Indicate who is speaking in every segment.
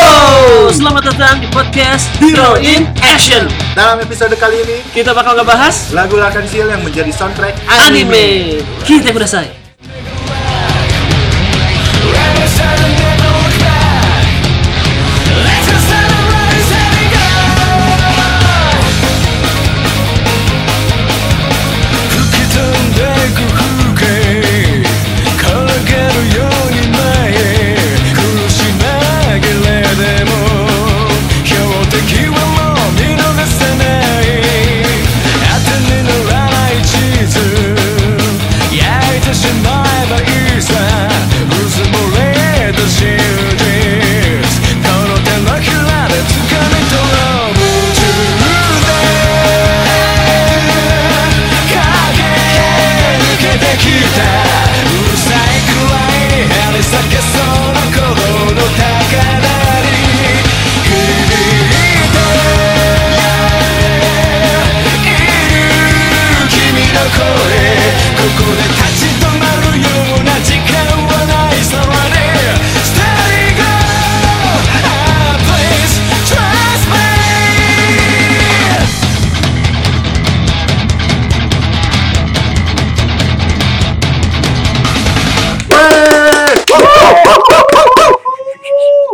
Speaker 1: Halo, selamat datang di podcast Hero in Action.
Speaker 2: Dalam episode kali ini,
Speaker 1: Kita bakal ngebahas
Speaker 2: lagu Lakan Seal yang menjadi soundtrack
Speaker 1: anime. Kita kudasai.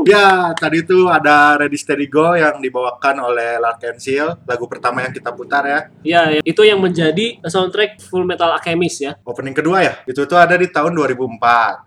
Speaker 2: Ya, tadi itu ada Ready Steady Go yang dibawakan oleh Larkin Seal, lagu pertama yang kita putar ya.
Speaker 1: Ya, itu yang menjadi soundtrack Full Metal Alchemist ya.
Speaker 2: Opening kedua ya, itu tuh ada di tahun 2004.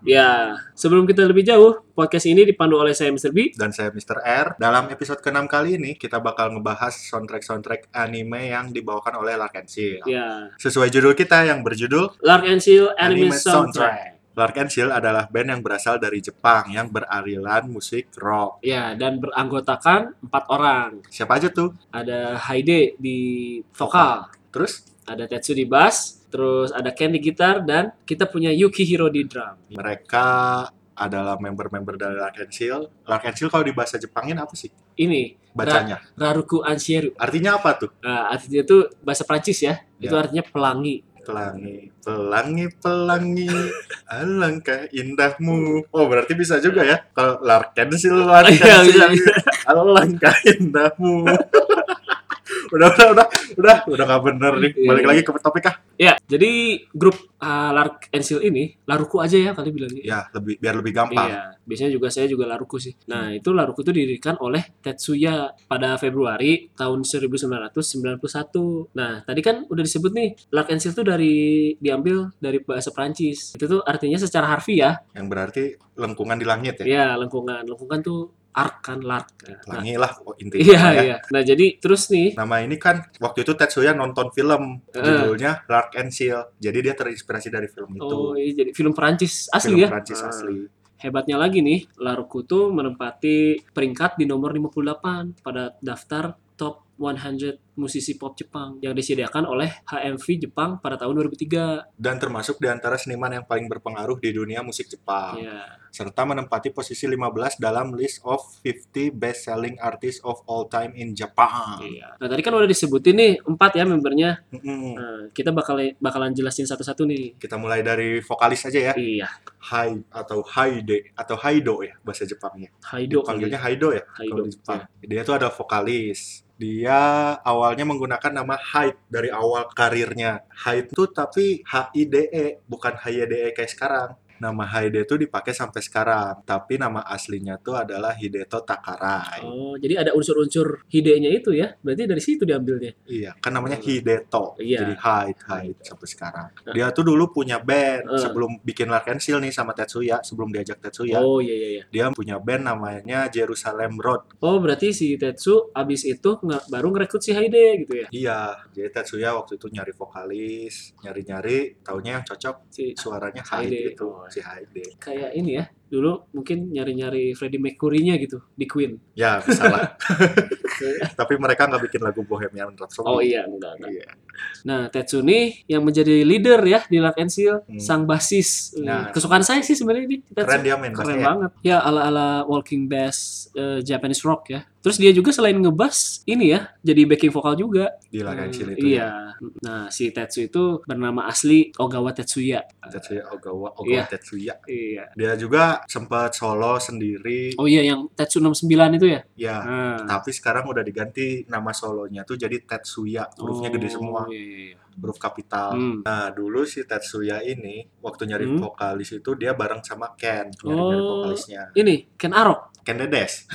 Speaker 1: Ya, sebelum kita lebih jauh, podcast ini dipandu oleh saya Mr. B.
Speaker 2: Dan saya Mr. R. Dalam episode ke-6 kali ini, kita bakal ngebahas soundtrack-soundtrack anime yang dibawakan oleh Larkin Seal.
Speaker 1: Ya,
Speaker 2: Sesuai judul kita yang berjudul
Speaker 1: Lark and Seal Anime,
Speaker 2: Anime
Speaker 1: Soundtrack.
Speaker 2: Soundtrack. Lark and Seal adalah band yang berasal dari Jepang yang berarilan musik rock.
Speaker 1: Ya, dan beranggotakan empat orang.
Speaker 2: Siapa aja tuh?
Speaker 1: Ada Haide di vokal,
Speaker 2: Terus
Speaker 1: ada Tetsu di bass, terus ada Ken di gitar, dan kita punya Yukihiro di drum.
Speaker 2: mereka adalah member-member dari Lark and Seal. Lark and Seal kalau di bahasa Jepangin apa sih
Speaker 1: Ini,
Speaker 2: bacanya?
Speaker 1: Raruku Anshiru.
Speaker 2: Artinya apa tuh?
Speaker 1: Nah, artinya itu bahasa Prancis ya. Itu
Speaker 2: Ya.
Speaker 1: artinya pelangi.
Speaker 2: Pelangi, pelangi, pelangi, alangkah indahmu. Oh berarti bisa juga ya? Kalau Lark and Seal, Lark and
Speaker 1: Iya, bisa,
Speaker 2: Seal, alangkah indahmu. udah, udah, udah, udah, udah gak bener nih.
Speaker 1: Iya,
Speaker 2: Balik
Speaker 1: iya.
Speaker 2: lagi ke topik ah.
Speaker 1: Ya, jadi grup uh, Lark and Seal ini, Laruku aja ya kali bilangnya.
Speaker 2: Ya, lebih biar lebih gampang.
Speaker 1: Iya, biasanya juga saya juga Laruku sih. Nah, itu Laruku itu didirikan oleh Tetsuya pada Februari tahun 1991. Nah, tadi kan udah disebut nih, Lark and Seal itu dari diambil dari bahasa Prancis. Itu tuh artinya secara harfiah,
Speaker 2: yang berarti lengkungan di langit ya.
Speaker 1: ya lengkungan. Lengkungan tuh ark kan lark. Nah,
Speaker 2: Langit lah oh, intinya.
Speaker 1: iya,
Speaker 2: ya.
Speaker 1: iya. Nah, jadi terus nih,
Speaker 2: Nama ini kan waktu itu Tetsuya nonton film
Speaker 1: Eh.
Speaker 2: judulnya Lark and Seal. Jadi dia terinspirasi dari film
Speaker 1: Oh,
Speaker 2: itu.
Speaker 1: iya, jadi film
Speaker 2: Gitu.
Speaker 1: Perancis
Speaker 2: film
Speaker 1: asli ya.
Speaker 2: Prancis
Speaker 1: Ah.
Speaker 2: asli.
Speaker 1: Hebatnya lagi nih, Laruku tuh menempati peringkat di nomor 58 pada daftar top 100 musisi pop Jepang yang disediakan oleh HMV Jepang pada tahun 2003.
Speaker 2: Dan termasuk di antara seniman yang paling berpengaruh di dunia musik Jepang.
Speaker 1: Ya,
Speaker 2: Serta menempati posisi 15 dalam list of 50 best-selling artists of all time in Japan.
Speaker 1: iya. Nah, tadi kan udah disebutin nih empat ya membernya.
Speaker 2: Mm-mm.
Speaker 1: Nah, kita bakal bakalan jelasin satu-satu nih.
Speaker 2: Kita mulai dari vokalis aja ya.
Speaker 1: Iya,
Speaker 2: Hai atau Haide atau Haido ya bahasa Jepangnya.
Speaker 1: Haido kali ya.
Speaker 2: Dipanggilnya Haido ya.
Speaker 1: Haido.
Speaker 2: kalau di Jepang. Dia tuh ada vokalis. Dia awalnya menggunakan nama Hyde dari awal karirnya. Hyde tuh tapi H-I-D-E, E, bukan H-Y-D-E E kayak sekarang. Nama Hyde tuh dipakai sampai sekarang, tapi nama aslinya tuh adalah Hideto Takarai.
Speaker 1: Oh, jadi ada unsur-unsur hidenya itu ya. Berarti dari situ diambilnya.
Speaker 2: Iya, kan namanya Hideto.
Speaker 1: Iya. Nah.
Speaker 2: Jadi Hyde, Hyde sampai sekarang. Dia tuh dulu punya band
Speaker 1: Eh.
Speaker 2: sebelum bikin Lark and Seal nih sama Tetsuya, sebelum diajak Tetsuya.
Speaker 1: Oh, iya iya iya.
Speaker 2: Dia punya band namanya Jerusalem Road.
Speaker 1: Oh, berarti si Tetsu abis itu nge- baru ngerekrut si Haide gitu ya.
Speaker 2: Iya, jadi Tetsuya waktu itu nyari vokalis, nyari-nyari, taunya yang cocok
Speaker 1: Si
Speaker 2: suaranya
Speaker 1: Haide.
Speaker 2: Haide itu,
Speaker 1: Oh.
Speaker 2: si Haide.
Speaker 1: kayak ini ya dulu mungkin nyari-nyari Freddie Mercury-nya gitu di Queen
Speaker 2: Ya, bisa lah. Tapi mereka nggak bikin lagu Bohemian Rhapsody.
Speaker 1: oh iya enggak, enggak.
Speaker 2: Iya.
Speaker 1: nah Tetsu nih yang menjadi leader ya di Lark and Seal
Speaker 2: Hmm.
Speaker 1: sang basis
Speaker 2: Nah.
Speaker 1: kesukaan saya sih sebenarnya ini Tetsu
Speaker 2: Keren dia main
Speaker 1: keren
Speaker 2: bassnya ya.
Speaker 1: banget ya ala-ala Walking Bass eh, Japanese rock ya terus dia juga selain ngebass ini ya jadi backing vokal juga
Speaker 2: di Lagan Chill
Speaker 1: Eh,
Speaker 2: itu. ya.
Speaker 1: iya nah si Tetsu itu bernama asli Ogawa Tetsuya
Speaker 2: Tetsuya Ogawa, Ogawa
Speaker 1: Iya.
Speaker 2: Tetsuya.
Speaker 1: iya
Speaker 2: Dia juga Korea sempat solo sendiri
Speaker 1: Oh iya yang Tetsu 69 itu ya?
Speaker 2: ya
Speaker 1: Nah.
Speaker 2: tapi sekarang udah diganti nama solonya tuh jadi Tetsuya hurufnya gede semua
Speaker 1: Oh, iya, iya, iya.
Speaker 2: huruf kapital
Speaker 1: Hmm.
Speaker 2: nah dulu si Tetsuya ini waktu nyari
Speaker 1: Hmm.
Speaker 2: vokalis itu dia bareng sama Ken nyari nyari
Speaker 1: Oh.
Speaker 2: vokalisnya
Speaker 1: Ini Ken Arok
Speaker 2: Ken Dedes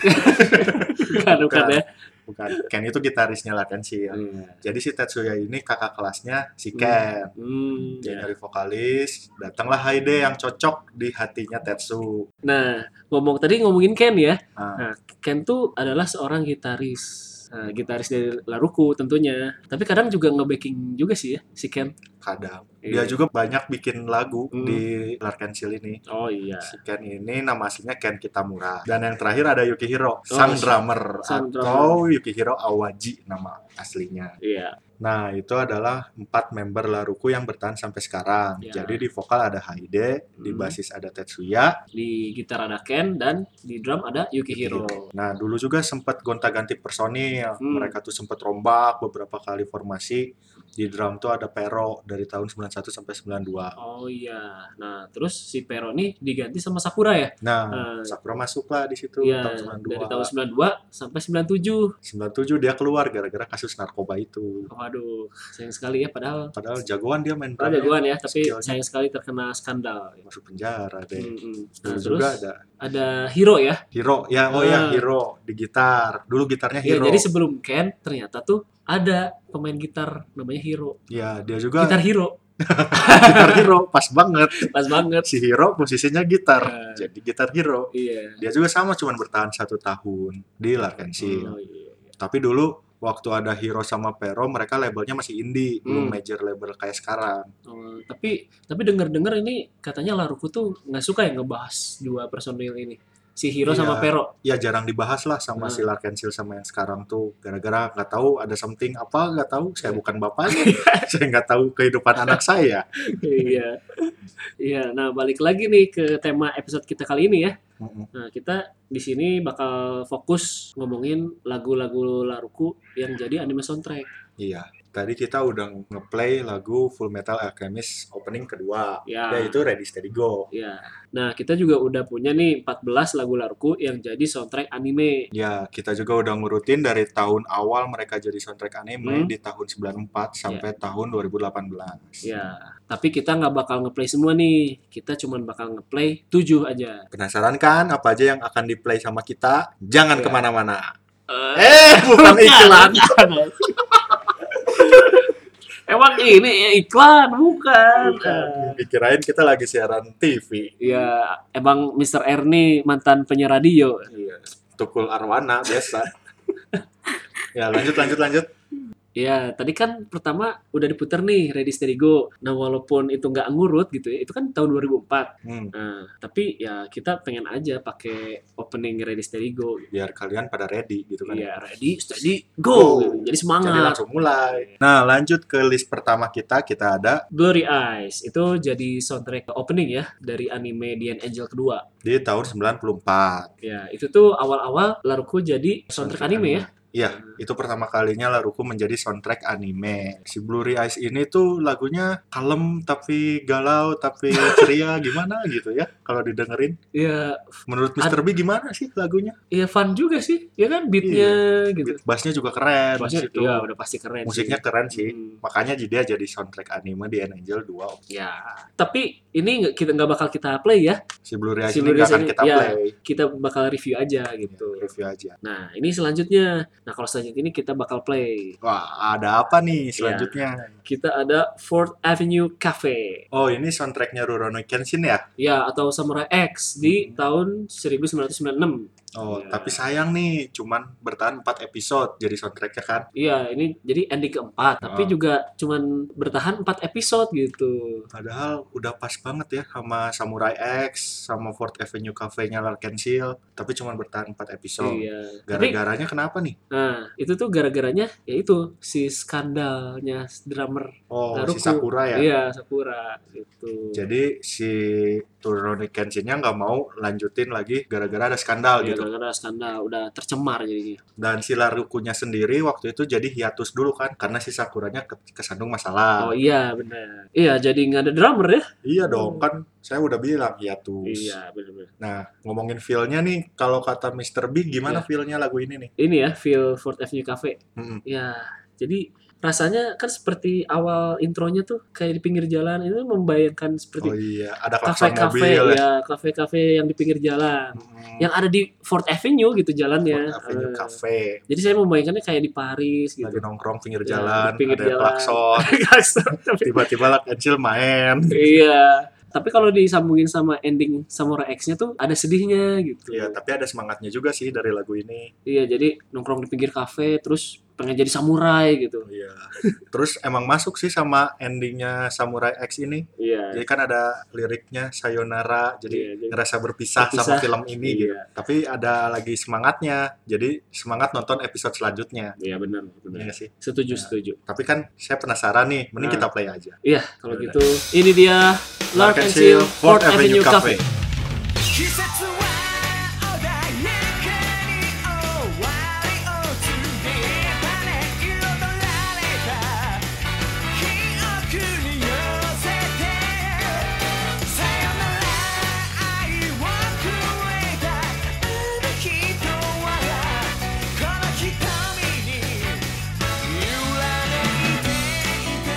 Speaker 1: bukan, bukan ya?
Speaker 2: bukan Ken itu gitarisnya lah Ken sih
Speaker 1: Hmm.
Speaker 2: jadi si Tetsuya ini kakak kelasnya si Ken
Speaker 1: Hmm,
Speaker 2: dia
Speaker 1: ya.
Speaker 2: nyari vokalis datanglah Haide yang cocok di hatinya Tetsu
Speaker 1: Nah, ngomong tadi ngomongin Ken ya.
Speaker 2: Ah.
Speaker 1: Nah, Ken tuh adalah seorang gitaris. Nah, gitaris dari Laruku tentunya. Tapi kadang juga nge-backing juga sih ya si Ken.
Speaker 2: kadang
Speaker 1: Iya.
Speaker 2: dia juga banyak bikin lagu
Speaker 1: Hmm.
Speaker 2: di Larkensil ini
Speaker 1: Oh iya.
Speaker 2: Si Ken ini nama aslinya Ken Kitamura. Dan yang terakhir ada
Speaker 1: Oh,
Speaker 2: Yukihiro, sang
Speaker 1: si-
Speaker 2: drummer
Speaker 1: sang
Speaker 2: atau Yukihiro Awaji nama aslinya.
Speaker 1: Iya.
Speaker 2: Nah, itu adalah empat member Laruku yang bertahan sampai sekarang.
Speaker 1: Ya.
Speaker 2: Jadi di vokal ada Haide, di
Speaker 1: Hmm.
Speaker 2: basis ada Tetsuya.
Speaker 1: Di gitar ada Ken dan di drum ada Yukihiro.
Speaker 2: Nah, dulu juga sempat gonta-ganti personil.
Speaker 1: Hmm.
Speaker 2: Mereka tuh sempat rombak beberapa kali formasi. Di drum tuh ada Pero dari tahun 91 sampai 92.
Speaker 1: Oh iya. Nah, terus si Pero nih diganti sama Sakura ya?
Speaker 2: Nah,
Speaker 1: Nah,
Speaker 2: Sakura masuklah di situ
Speaker 1: iya.
Speaker 2: tahun 92.
Speaker 1: Dari tahun 92 sampai 97.
Speaker 2: 97 dia keluar gara-gara kasus narkoba itu.
Speaker 1: Waduh, sayang sekali ya padahal
Speaker 2: Padahal jagoan dia main
Speaker 1: padahal
Speaker 2: drumnya.
Speaker 1: jagoan ya, tapi
Speaker 2: Skillnya.
Speaker 1: sayang sekali terkena skandal.
Speaker 2: masuk penjara deh.
Speaker 1: Mm-mm.
Speaker 2: Dulu
Speaker 1: Nah, terus
Speaker 2: juga ada
Speaker 1: ada Hiro ya.
Speaker 2: Hiro, ya oh
Speaker 1: Ah.
Speaker 2: ya Hiro di gitar. Dulu gitarnya
Speaker 1: Ya,
Speaker 2: Hiro.
Speaker 1: jadi sebelum Ken ternyata tuh ada pemain gitar namanya Hiro.
Speaker 2: Ya, dia juga gitar,
Speaker 1: Gitar Hiro.
Speaker 2: Hiro pas banget.
Speaker 1: Pas banget.
Speaker 2: Si Hiro posisinya gitar.
Speaker 1: Eh,
Speaker 2: Jadi gitar Hiro.
Speaker 1: iya.
Speaker 2: Dia juga sama cuman bertahan satu tahun di Larkensil.
Speaker 1: Oh, iya.
Speaker 2: Tapi dulu waktu ada Hiro sama Pero mereka labelnya masih indie, belum
Speaker 1: Hmm.
Speaker 2: major label kayak sekarang.
Speaker 1: Oh, tapi tapi dengar-dengar ini katanya Laruku tuh nggak suka ya ngebahas dua personil ini. Si Hiro sama
Speaker 2: Iya.
Speaker 1: Pero.
Speaker 2: Ya jarang dibahas lah sama
Speaker 1: Hmm.
Speaker 2: si Larkensil sama yang sekarang tuh gara-gara nggak tahu ada something apa nggak tahu
Speaker 1: Hmm.
Speaker 2: saya bukan bapaknya saya nggak tahu kehidupan anak saya
Speaker 1: iya. Iya, nah balik lagi nih ke tema episode kita kali ini ya.
Speaker 2: Mm-mm.
Speaker 1: Nah, kita di sini bakal fokus ngomongin lagu-lagu Laruku yang jadi anime soundtrack.
Speaker 2: Iya, tadi kita udah ngeplay lagu Full Metal Alchemist opening kedua,
Speaker 1: Ya.
Speaker 2: yaitu Ready Steady Go.
Speaker 1: Ya. Nah, kita juga udah punya nih 14 lagu Laruku yang jadi soundtrack anime.
Speaker 2: Ya, kita juga udah ngurutin dari tahun awal mereka jadi soundtrack anime
Speaker 1: Hmm.
Speaker 2: di tahun 94 sampai tahun 2018.
Speaker 1: Ya, tapi kita nggak bakal ngeplay semua nih. Kita cuman bakal ngeplay 7 aja.
Speaker 2: Penasaran kan apa aja yang akan diplay sama kita? Jangan
Speaker 1: Iya.
Speaker 2: kemana-mana.
Speaker 1: Eh,
Speaker 2: Eh, bukan iklan.
Speaker 1: Emang ini iklan bukan? Eh,
Speaker 2: Dikirain kita lagi siaran TV.
Speaker 1: Ya, emang Mr. R nih mantan penyiar radio.
Speaker 2: Iya. Tukul Arwana biasa. ya, lanjut lanjut lanjut.
Speaker 1: Ya, tadi kan pertama udah diputer nih Ready Steady Go. Nah, walaupun itu nggak ngurut gitu ya, itu kan tahun 2004.
Speaker 2: Hmm,
Speaker 1: Nah, tapi ya kita pengen aja pakai opening Ready Steady Go.
Speaker 2: biar kalian pada ready gitu kan.
Speaker 1: Iya, ready, steady, go. Gitu.
Speaker 2: Go.
Speaker 1: Jadi semangat.
Speaker 2: Jadi langsung
Speaker 1: Iya.
Speaker 2: mulai. Nah, lanjut ke list pertama kita, kita ada
Speaker 1: Blurry Eyes itu jadi soundtrack opening ya dari anime DN Angel kedua.
Speaker 2: di tahun 94.
Speaker 1: Ya, itu tuh awal-awal Laruku jadi soundtrack anime ya.
Speaker 2: Iya, itu pertama kalinya Laruku menjadi soundtrack anime. Si Blurry Eyes ini tuh lagunya kalem tapi galau tapi ceria gimana gitu ya kalau didengerin.
Speaker 1: Ya,
Speaker 2: Menurut Mr. B gimana sih lagunya?
Speaker 1: ya fun juga sih. Ya kan beatnya gitu.
Speaker 2: Beat bassnya juga keren. Bass
Speaker 1: Maksudnya,
Speaker 2: itu
Speaker 1: ya udah pasti keren
Speaker 2: musiknya keren sih.
Speaker 1: sih. Hmm.
Speaker 2: Makanya dia jadi soundtrack anime di An Angel 2.
Speaker 1: Ya, tapi ini nggak kita nggak bakal kita play ya.
Speaker 2: Si Blurry Eyes
Speaker 1: Si
Speaker 2: ini
Speaker 1: Blurry
Speaker 2: nggak
Speaker 1: Eyes
Speaker 2: akan
Speaker 1: ini,
Speaker 2: kita
Speaker 1: iya.
Speaker 2: play.
Speaker 1: Kita bakal review aja gitu.
Speaker 2: Ya, Review aja.
Speaker 1: Nah, ini selanjutnya. Nah, kalau selanjutnya ini kita bakal play.
Speaker 2: Wah, ada apa
Speaker 1: Iya.
Speaker 2: nih selanjutnya?
Speaker 1: Kita ada Fourth Avenue Cafe.
Speaker 2: Oh, ini soundtracknya Rurouni Kenshin ya?
Speaker 1: Ya, atau Samurai X
Speaker 2: Hmm.
Speaker 1: di tahun 1996.
Speaker 2: Oh,
Speaker 1: Iya.
Speaker 2: tapi sayang nih, cuman bertahan 4 episode jadi soundtracknya kan.
Speaker 1: Iya, ini jadi ending keempat, tapi
Speaker 2: Ah.
Speaker 1: juga cuman bertahan 4 episode gitu.
Speaker 2: Padahal udah pas banget ya sama Samurai X, sama Fourth Avenue Cafe-nya Larkensil, tapi cuman bertahan 4 episode.
Speaker 1: Iya. Tapi
Speaker 2: Gara-garanya kenapa nih?
Speaker 1: nah, itu tuh gara-garanya yaitu si skandalnya drummer.
Speaker 2: Oh,
Speaker 1: Naruku.
Speaker 2: si Sakura ya.
Speaker 1: Iya, Sakura gitu.
Speaker 2: Jadi si Rurouni Kenshin-nya nggak mau lanjutin lagi gara-gara ada skandal
Speaker 1: Iya,
Speaker 2: gitu
Speaker 1: gara-gara skandal udah tercemar jadinya.
Speaker 2: Dan si Larukunya sendiri waktu itu jadi hiatus dulu kan karena si Sakuranya ke- kesandung masalah.
Speaker 1: Oh iya benar. Iya jadi nggak ada drummer ya?
Speaker 2: Iya dong, kan saya udah bilang hiatus.
Speaker 1: Iya benar-benar.
Speaker 2: Nah, ngomongin feel-nya nih, kalau kata Mr. Big gimana
Speaker 1: Iya.
Speaker 2: feel-nya lagu ini nih?
Speaker 1: Ini ya feel Ford Avenue Cafe.
Speaker 2: Mm-mm.
Speaker 1: Ya jadi rasanya kan seperti awal intronya tuh kayak di pinggir jalan itu membayangkan
Speaker 2: Oh
Speaker 1: seperti
Speaker 2: iya, ada klakson
Speaker 1: kafe-kafe
Speaker 2: mobil ya.
Speaker 1: ya kafe-kafe yang di pinggir jalan
Speaker 2: Mm-mm.
Speaker 1: yang ada di Ford Avenue gitu
Speaker 2: Fort
Speaker 1: jalannya.
Speaker 2: Avenue
Speaker 1: Eh,
Speaker 2: Ya, Cafe.
Speaker 1: Jadi saya membayangkannya kayak di Paris gitu.
Speaker 2: Lagi nongkrong pinggir
Speaker 1: Ya,
Speaker 2: jalan,
Speaker 1: di pinggir
Speaker 2: ada
Speaker 1: jalan.
Speaker 2: klakson. Tiba-tiba lah kecil main.
Speaker 1: iya. Tapi kalau disambungin sama ending Samurai X-nya tuh ada sedihnya gitu.
Speaker 2: Iya, tapi ada semangatnya juga sih dari lagu ini.
Speaker 1: Iya, jadi nongkrong di pinggir kafe terus pengen jadi samurai gitu.
Speaker 2: Iya. Terus emang masuk sih sama endingnya Samurai X ini.
Speaker 1: Iya.
Speaker 2: Jadi kan ada liriknya Sayonara, jadi
Speaker 1: Iya, jadi-
Speaker 2: ngerasa berpisah, sama
Speaker 1: Berpisah.
Speaker 2: film ini gitu.
Speaker 1: Iya,
Speaker 2: Tapi ada lagi semangatnya, jadi semangat nonton episode selanjutnya.
Speaker 1: iya benar,
Speaker 2: Iya
Speaker 1: benar.
Speaker 2: nggak sih.
Speaker 1: Setuju,
Speaker 2: Ya.
Speaker 1: setuju.
Speaker 2: Tapi kan saya penasaran nih, mending
Speaker 1: Nah.
Speaker 2: kita play aja.
Speaker 1: Iya, kalau
Speaker 2: Yaudah.
Speaker 1: gitu ini dia Lark and Seal Fort Avenue Cafe.
Speaker 3: 季節は穏やかに終わりを告げたね彩られた記憶に寄せてさよなら愛をくれたあの人はこの瞳に揺られていた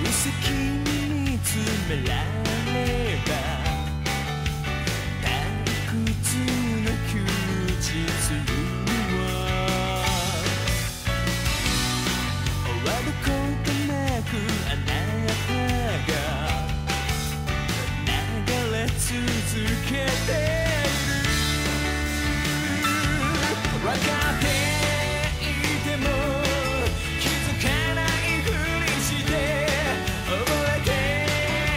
Speaker 3: 無責任に詰められば退屈な休日を終わることなくあなたが流れ続けている分かっていても気づかないふりして覚えて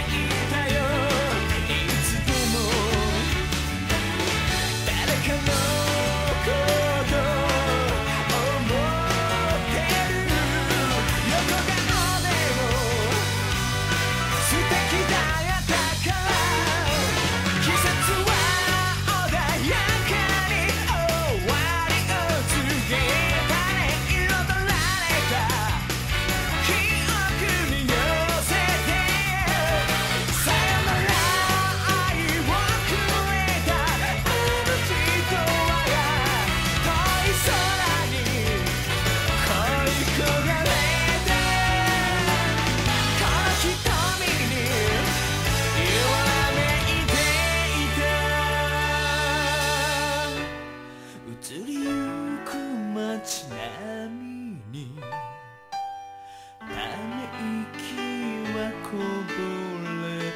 Speaker 3: いたよいつでも誰かのこと思ってる横顔でも素敵だったから季節は穏やかに終わりを告げたね彩られた記憶に寄せてさよなら愛をくれたあの人は遠い空に恋焦がれてこの瞳に言われていた移りゆく街並みにため息はこぼれた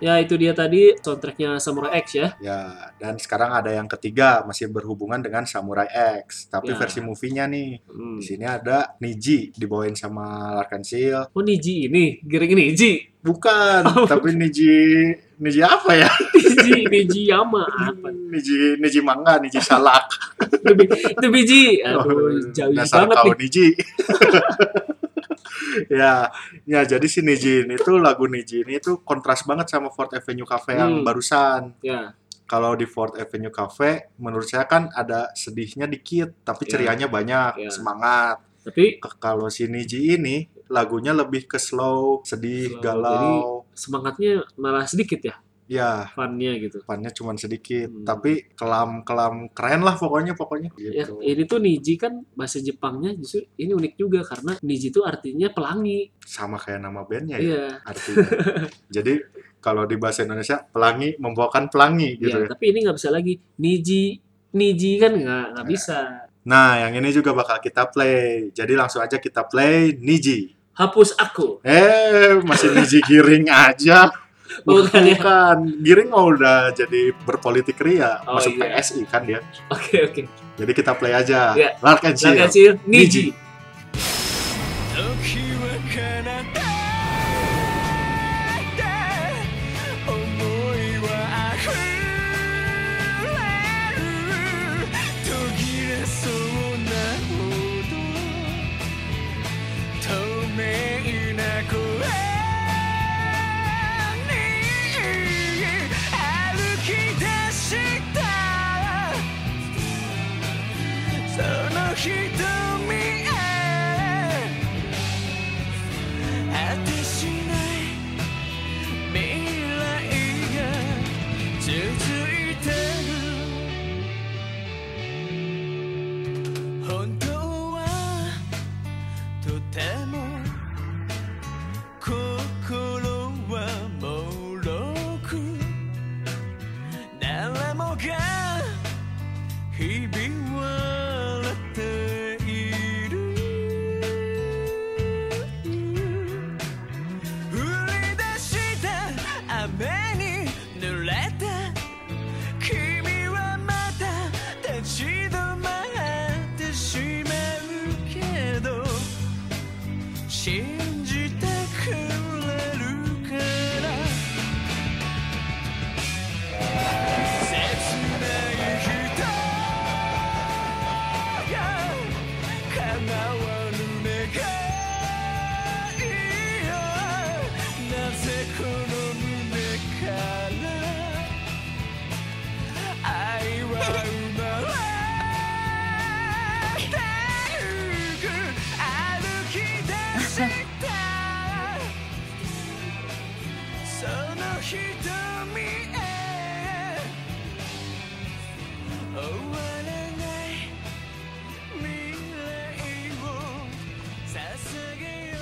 Speaker 1: Ya, itu dia tadi soundtracknya Samurai X ya.
Speaker 2: Ya, dan sekarang ada yang ketiga masih berhubungan dengan Samurai X, tapi
Speaker 1: Ya.
Speaker 2: versi movie-nya nih.
Speaker 1: Hmm.
Speaker 2: Di sini ada Niji dibawain sama Larkin Seal.
Speaker 1: Oh, Niji ini, giring Niji.
Speaker 2: Bukan,
Speaker 1: Oh,
Speaker 2: tapi Niji Niji apa ya?
Speaker 1: Niji, Niji Yama apa?
Speaker 2: Niji Niji manga, Niji salak.
Speaker 1: Itu bi- Itu biji. Aduh,
Speaker 2: Oh,
Speaker 1: jauh
Speaker 2: Dasar
Speaker 1: banget
Speaker 2: kau
Speaker 1: nih.
Speaker 2: Niji. ya, ya jadi si Niji ini tuh lagu Niji ini tuh kontras banget sama Fort Avenue Cafe yang
Speaker 1: Hmm.
Speaker 2: barusan.
Speaker 1: Ya,
Speaker 2: Kalau di Fort Avenue Cafe, menurut saya kan ada sedihnya dikit, tapi
Speaker 1: Ya.
Speaker 2: cerianya banyak,
Speaker 1: Ya.
Speaker 2: semangat.
Speaker 1: tapi
Speaker 2: Ke- Kalau si Niji ini lagunya lebih ke slow, sedih,
Speaker 1: Slow,
Speaker 2: galau.
Speaker 1: semangatnya malah sedikit ya,
Speaker 2: Ya,
Speaker 1: funnya gitu.
Speaker 2: depannya cuman sedikit,
Speaker 1: Hmm.
Speaker 2: tapi kelam-kelam keren lah pokoknya pokoknya
Speaker 1: Ya,
Speaker 2: gitu.
Speaker 1: ini tuh Niji kan bahasa Jepangnya justru ini unik juga karena Niji tuh artinya pelangi.
Speaker 2: Sama kayak nama bandnya ya
Speaker 1: Iya.
Speaker 2: artinya. Jadi kalau di bahasa Indonesia pelangi membawakan pelangi
Speaker 1: Iya,
Speaker 2: gitu ya.
Speaker 1: tapi ini nggak bisa lagi Niji Niji kan nggak nggak
Speaker 2: Iya.
Speaker 1: bisa.
Speaker 2: Nah, yang ini juga bakal kita play. Jadi langsung aja kita play Niji.
Speaker 1: Hapus aku.
Speaker 2: Eh, masih Niji giring aja.
Speaker 1: Bukan ya?
Speaker 2: Bukan. Giring mau udah jadi berpolitik ria,
Speaker 1: Oh,
Speaker 2: masuk
Speaker 1: iya.
Speaker 2: PSI kan dia.
Speaker 1: Oke oke.
Speaker 2: Jadi kita play aja.
Speaker 1: Iya.
Speaker 2: Lark and Seal.
Speaker 1: Nah, kecil Niji.
Speaker 3: 時は彼方で思いは溢れる途切れ瞳へ果てしない未来が続いてる本当はとても心は脆く誰もがひび割れている降り出した雨に濡れた君はまた立ち止まってしまうけど信じてくれるから切ない人が 叶わぬ願いをなぜこの胸から愛は生まれてゆく歩き出したその瞳へ終わらない未来を捧げよう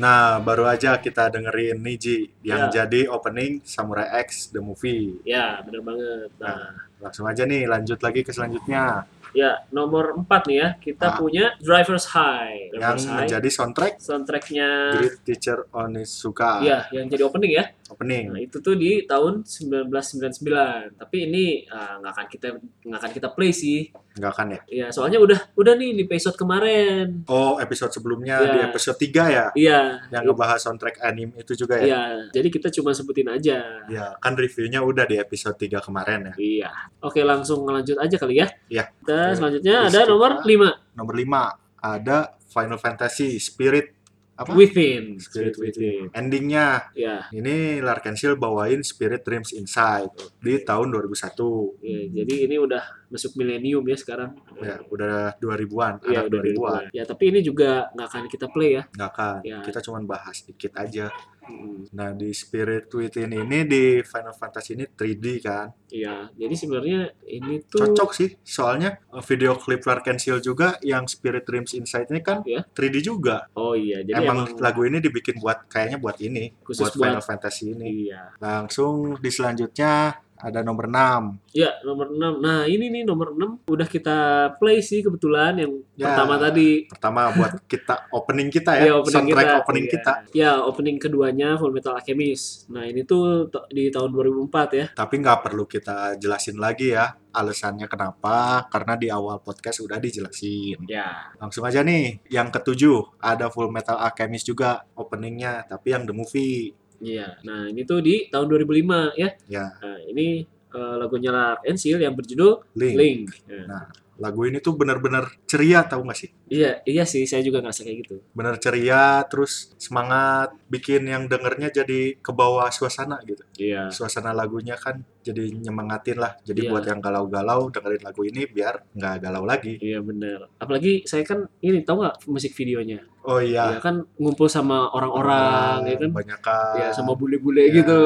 Speaker 2: Nah, baru aja kita dengerin Niji yang
Speaker 1: Ya.
Speaker 2: jadi opening Samurai X The Movie.
Speaker 1: Ya, bener banget. Nah,
Speaker 2: Langsung aja nih, lanjut lagi ke selanjutnya.
Speaker 1: ya nomor 4 nih ya, kita
Speaker 2: Ah.
Speaker 1: punya Driver's High.
Speaker 2: Yang
Speaker 1: Driver's High.
Speaker 2: menjadi soundtrack
Speaker 1: Soundtracknya,
Speaker 2: Great Teacher Onizuka.
Speaker 1: ya yang jadi opening ya.
Speaker 2: Opening.
Speaker 1: Nah, itu tuh di tahun 1999. Tapi ini ah, nggak akan kita nggak akan kita play sih.
Speaker 2: Nggak kan ya?
Speaker 1: Ya, soalnya udah udah nih di episode kemarin.
Speaker 2: Oh, episode sebelumnya
Speaker 1: Ya.
Speaker 2: di episode 3 ya?
Speaker 1: Iya.
Speaker 2: Yang
Speaker 1: i-
Speaker 2: ngebahas soundtrack anime itu juga ya?
Speaker 1: Iya, jadi kita cuma sebutin aja.
Speaker 2: Ya, kan reviewnya udah di episode 3 kemarin ya.
Speaker 1: Iya. Oke, langsung lanjut aja kali ya.
Speaker 2: Iya.
Speaker 1: Kita
Speaker 2: Oke.
Speaker 1: selanjutnya
Speaker 2: Terus
Speaker 1: ada nomor
Speaker 2: kita-
Speaker 1: 5,
Speaker 2: Nomor 5 ada Final Fantasy Spirit apa?
Speaker 1: Within.
Speaker 2: Spirit Within. Endingnya
Speaker 1: Ya,
Speaker 2: ini Larkensil bawain Spirit Dreams Inside di tahun 2001.
Speaker 1: ya, jadi ini udah masuk milenium ya sekarang.
Speaker 2: Ya, udah 2000-an, anak
Speaker 1: Iya, udah
Speaker 2: 2000-an.
Speaker 1: 2000-an. Ya, tapi ini juga nggak akan kita play ya.
Speaker 2: Nggak kan.
Speaker 1: Ya.
Speaker 2: Kita cuman bahas dikit aja.
Speaker 1: Hmm,
Speaker 2: Nah, di Spirit Within ini di Final Fantasy ini 3D kan.
Speaker 1: Iya, jadi sebenarnya ini tuh
Speaker 2: Cocok sih, soalnya eh, video klip Larkensil juga yang Spirit Dreams Inside ini kan
Speaker 1: Ya.
Speaker 2: 3D juga.
Speaker 1: Oh iya, jadi
Speaker 2: emang, lagu ini dibikin buat kayaknya buat ini,
Speaker 1: Khusus
Speaker 2: buat,
Speaker 1: buat-
Speaker 2: Final Fantasy ini.
Speaker 1: Iya.
Speaker 2: Langsung di selanjutnya ada nomor 6.
Speaker 1: Ya, nomor 6. Nah, ini nih nomor 6 udah kita play sih kebetulan yang
Speaker 2: Ya.
Speaker 1: pertama tadi
Speaker 2: Pertama buat kita opening kita ya,
Speaker 1: Iya,
Speaker 2: soundtrack opening
Speaker 1: Iya.
Speaker 2: kita.
Speaker 1: Ya, opening keduanya Full Metal Alchemist. Nah, ini tuh to- di tahun 2004 ya.
Speaker 2: Tapi nggak perlu kita jelasin lagi ya alasannya kenapa, karena di awal podcast udah dijelasin.
Speaker 1: Ya.
Speaker 2: Langsung aja nih, yang ketujuh ada Full Metal Alchemist juga openingnya, tapi yang the movie.
Speaker 1: Iya. Nah, ini tuh di tahun 2005 ya.
Speaker 2: Ya,
Speaker 1: Nah, ini eh, lagunya Lark Ensil yang berjudul
Speaker 2: Link. Nah.
Speaker 1: Link. Ya.
Speaker 2: Lagu ini tuh bener-bener ceria tau gak sih?
Speaker 1: Iya, iya sih saya juga ngerasa kayak gitu.
Speaker 2: Bener ceria, terus semangat, bikin yang dengernya jadi kebawa suasana gitu.
Speaker 1: Iya.
Speaker 2: suasana lagunya kan jadi nyemangatin lah. Jadi
Speaker 1: Iya.
Speaker 2: buat yang galau-galau dengerin lagu ini biar nggak galau lagi.
Speaker 1: Iya benar. Apalagi saya kan ini tahu nggak musik videonya?
Speaker 2: Oh
Speaker 1: Ya
Speaker 2: iya.
Speaker 1: kan ngumpul sama orang-orang ya kan.
Speaker 2: Banyak kan.
Speaker 1: Ya sama bule-bule
Speaker 2: Ya.
Speaker 1: gitu.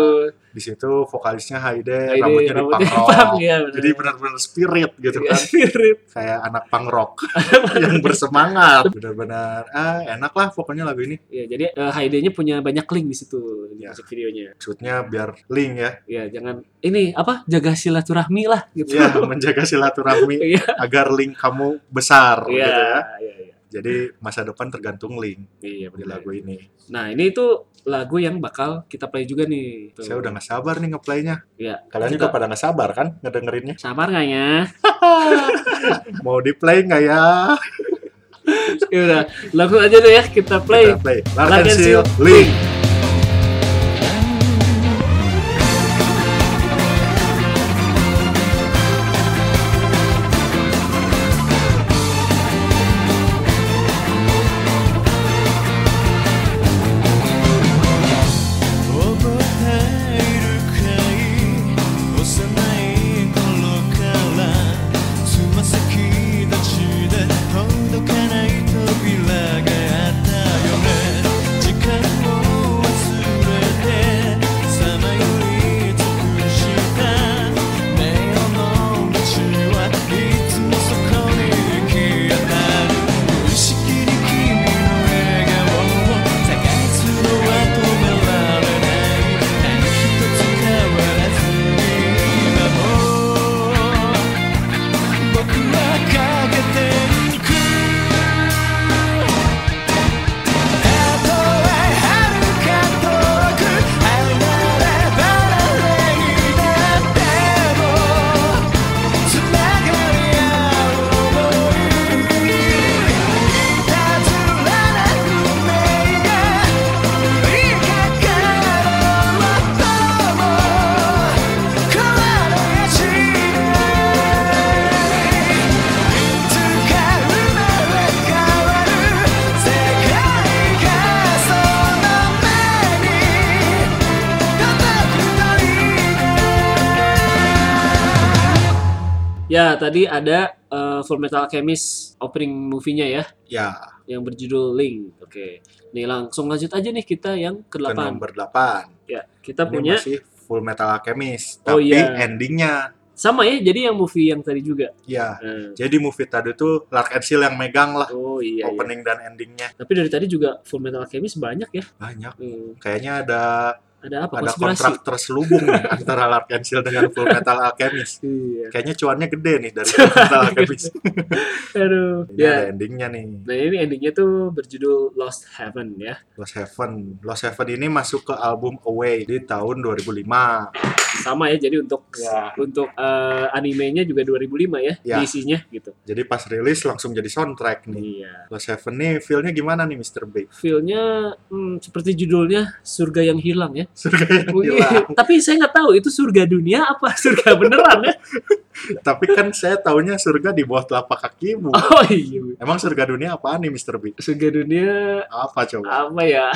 Speaker 2: Di situ vokalisnya Haide,
Speaker 1: Nah, ini
Speaker 2: rambutnya di punk rock.
Speaker 1: punk, ya, benar.
Speaker 2: Jadi benar-benar spirit gitu
Speaker 1: Iya,
Speaker 2: kan.
Speaker 1: spirit.
Speaker 2: Kayak anak punk rock yang bersemangat. Benar-benar ah enak lah pokoknya lagu ini.
Speaker 1: Ya, jadi eh, Haidenya punya banyak link di situ di
Speaker 2: Ya.
Speaker 1: musik videonya.
Speaker 2: Maksudnya biar link ya.
Speaker 1: ya jangan ini apa jaga silaturahmi lah gitu
Speaker 2: Ya, menjaga silaturahmi
Speaker 1: Iya.
Speaker 2: agar link kamu besar
Speaker 1: iya
Speaker 2: gitu ya.
Speaker 1: iya iya
Speaker 2: Jadi masa depan tergantung link
Speaker 1: Iya,
Speaker 2: di
Speaker 1: benar.
Speaker 2: lagu ini.
Speaker 1: nah ini tuh lagu yang bakal kita play juga nih Tuh.
Speaker 2: Saya udah nggak sabar nih ngeplaynya.
Speaker 1: Iya.
Speaker 2: Kalian juga
Speaker 1: Kita-
Speaker 2: pada nggak sabar kan ngedengerinnya?
Speaker 1: sabar nggak ya
Speaker 2: Mau di play nggak ya?
Speaker 1: ya udah langsung aja deh ya kita play
Speaker 2: Kita play.
Speaker 1: Lark
Speaker 2: Lark
Speaker 1: and
Speaker 2: and
Speaker 1: Seal,
Speaker 2: Seal, Link.
Speaker 3: 「覚えているかい幼い頃からつま先立ちで
Speaker 1: Ya, tadi ada eh, Full Metal Alchemist opening movie-nya ya
Speaker 2: Ya,
Speaker 1: yang berjudul Link. Oke. Nih langsung lanjut aja nih kita yang
Speaker 2: ke
Speaker 1: ke-8.
Speaker 2: nomor 8.
Speaker 1: Ya, kita
Speaker 2: Ini
Speaker 1: punya
Speaker 2: masih Full Metal Alchemist,
Speaker 1: Oh,
Speaker 2: tapi
Speaker 1: iya.
Speaker 2: endingnya
Speaker 1: sama ya jadi yang movie yang tadi juga.
Speaker 2: ya.
Speaker 1: Nah,
Speaker 2: Jadi movie tadi tuh Lark and Seal yang megang lah
Speaker 1: oh iya, iya.
Speaker 2: Ah, opening dan endingnya.
Speaker 1: Tapi dari tadi juga Full Metal Alchemist banyak ya.
Speaker 2: Banyak.
Speaker 1: Hmm,
Speaker 2: Kayaknya ada
Speaker 1: Ada apa?
Speaker 2: ada
Speaker 1: Konspirasi.
Speaker 2: kontrak terselubung nih antara Lark and Seal dengan Full Metal Alchemist.
Speaker 1: Iya.
Speaker 2: Kayaknya cuannya gede nih dari Full Metal Alchemist.
Speaker 1: Aduh.
Speaker 2: Ini ada
Speaker 1: Ya.
Speaker 2: endingnya nih.
Speaker 1: Nah, ini endingnya tuh berjudul Lost Heaven ya.
Speaker 2: Lost Heaven. Lost Heaven ini masuk ke album Away di tahun 2005.
Speaker 1: Sama ya jadi untuk
Speaker 2: Ya.
Speaker 1: untuk eh, animenya juga 2005 ya,
Speaker 2: Ya. Hmm.
Speaker 1: diisinya gitu.
Speaker 2: Jadi pas rilis langsung jadi soundtrack nih.
Speaker 1: Iya.
Speaker 2: Lost Heaven nih feel-nya gimana nih Mr. B?
Speaker 1: Feel-nya hmm, seperti judulnya surga yang hilang ya.
Speaker 2: Surga yang hilang.
Speaker 1: Tapi saya nggak tahu itu surga dunia apa surga beneran ya.
Speaker 2: Tapi kan saya taunya surga di bawah telapak kakimu.
Speaker 1: Oh iya.
Speaker 2: Emang surga dunia apaan nih Mr. B?
Speaker 1: Surga dunia
Speaker 2: Apa coba?
Speaker 1: apa ya?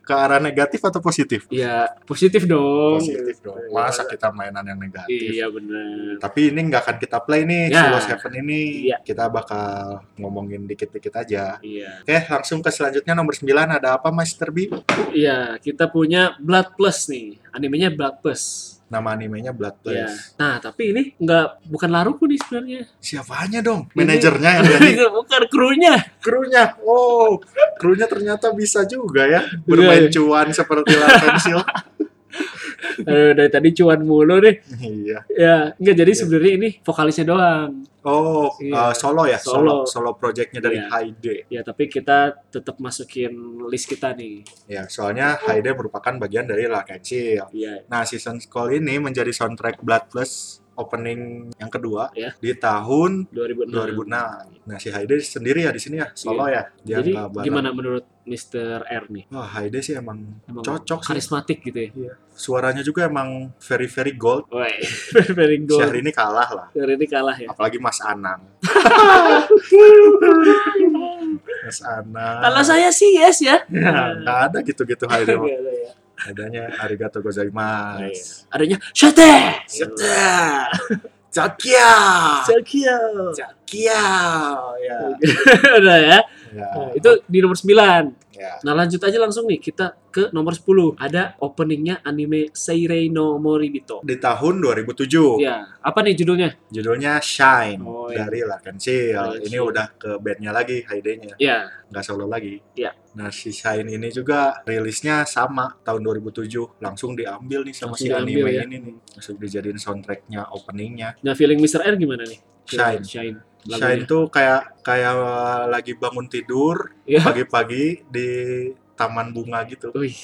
Speaker 2: Ke arah negatif atau positif?
Speaker 1: Ya positif dong.
Speaker 2: Positif dong. Masa kita mainan yang negatif?
Speaker 1: Oh, Iya benar.
Speaker 2: Tapi ini nggak akan kita play nih,
Speaker 1: Ya.
Speaker 2: si Lost Heaven ini.
Speaker 1: Iya.
Speaker 2: Kita bakal ngomongin dikit-dikit aja.
Speaker 1: Iya.
Speaker 2: Oke, langsung ke selanjutnya nomor 9 ada apa Mr. B?
Speaker 1: Iya, kita punya Blood Plus nih. Animenya Blood Plus.
Speaker 2: Nama animenya Blood
Speaker 1: Iya.
Speaker 2: Place.
Speaker 1: Nah, tapi ini nggak bukan laruku nih sebenarnya.
Speaker 2: Siapanya dong?
Speaker 1: Ini-
Speaker 2: Manajernya yang jadi
Speaker 1: Itu bukan krunya.
Speaker 2: krunya. Oh, krunya ternyata bisa juga ya bermain
Speaker 1: Iya.
Speaker 2: cuan seperti Larsensil.
Speaker 1: Aduh, dari tadi cuan mulu deh.
Speaker 2: iya.
Speaker 1: Ya, enggak jadi
Speaker 2: Iya.
Speaker 1: sebenarnya ini vokalisnya doang.
Speaker 2: Oh,
Speaker 1: Iya.
Speaker 2: uh, solo ya,
Speaker 1: Solo.
Speaker 2: solo solo projectnya dari
Speaker 1: Iya.
Speaker 2: Haide.
Speaker 1: Ya, tapi kita tetap masukin list kita nih.
Speaker 2: Ya, soalnya Haide merupakan bagian dari Larsensil.
Speaker 1: Iya.
Speaker 2: Nah, season call ini menjadi soundtrack Blood Plus opening yang kedua
Speaker 1: Iya. Hmm.
Speaker 2: di tahun
Speaker 1: 2006.
Speaker 2: 2006. Nah, si Haide sendiri ya di sini ya, solo ya. Dia
Speaker 1: Iya. Jadi
Speaker 2: nggak bareng.
Speaker 1: gimana menurut Mr. R nih?
Speaker 2: Wah, Haide sih emang,
Speaker 1: Emang
Speaker 2: cocok sih. Iya.
Speaker 1: karismatik gitu ya.
Speaker 2: Suaranya juga emang very very gold.
Speaker 1: Woi, very
Speaker 2: Si
Speaker 1: good.
Speaker 2: hari ini kalah lah.
Speaker 1: Hari ini kalah ya.
Speaker 2: apalagi Mas Anang. Mas Anang.
Speaker 1: Kalau saya sih yes ya.
Speaker 2: Ya, nggak ada gitu-gitu hari ini.
Speaker 1: Nggak ada ya.
Speaker 2: Adanya arigato
Speaker 1: Iya.
Speaker 2: gozaimasu.
Speaker 1: Adanya shate.
Speaker 2: Iya. Setelah. Zakia.
Speaker 1: Sakio.
Speaker 2: Zakia. Ya.
Speaker 1: Udah ya.
Speaker 2: Ya.
Speaker 1: Nah, itu di nomor 9.
Speaker 2: Ya.
Speaker 1: Nah, lanjut aja langsung nih kita ke nomor 10. Ada openingnya anime Seirei no Moribito.
Speaker 2: Di tahun 2007,
Speaker 1: Ya, apa nih judulnya?
Speaker 2: judulnya Shine
Speaker 1: Oh, iya.
Speaker 2: dari Larkin Seal.
Speaker 1: Larkin
Speaker 2: Ini
Speaker 1: Seal.
Speaker 2: udah ke bandnya lagi, Haidenya.
Speaker 1: Ya,
Speaker 2: Nggak solo lagi.
Speaker 1: Iya.
Speaker 2: Nah, si Shine ini juga rilisnya sama tahun 2007. Langsung diambil nih sama si
Speaker 1: Langsung
Speaker 2: anime
Speaker 1: diambil ya.
Speaker 2: ini nih. Langsung dijadiin soundtracknya, openingnya.
Speaker 1: nah feeling Mr. R gimana nih?
Speaker 2: Shine.
Speaker 1: Shine.
Speaker 2: Shine tuh kayak kayak lagi bangun tidur
Speaker 1: Iya.
Speaker 2: pagi-pagi di taman bunga gitu.
Speaker 1: Wih,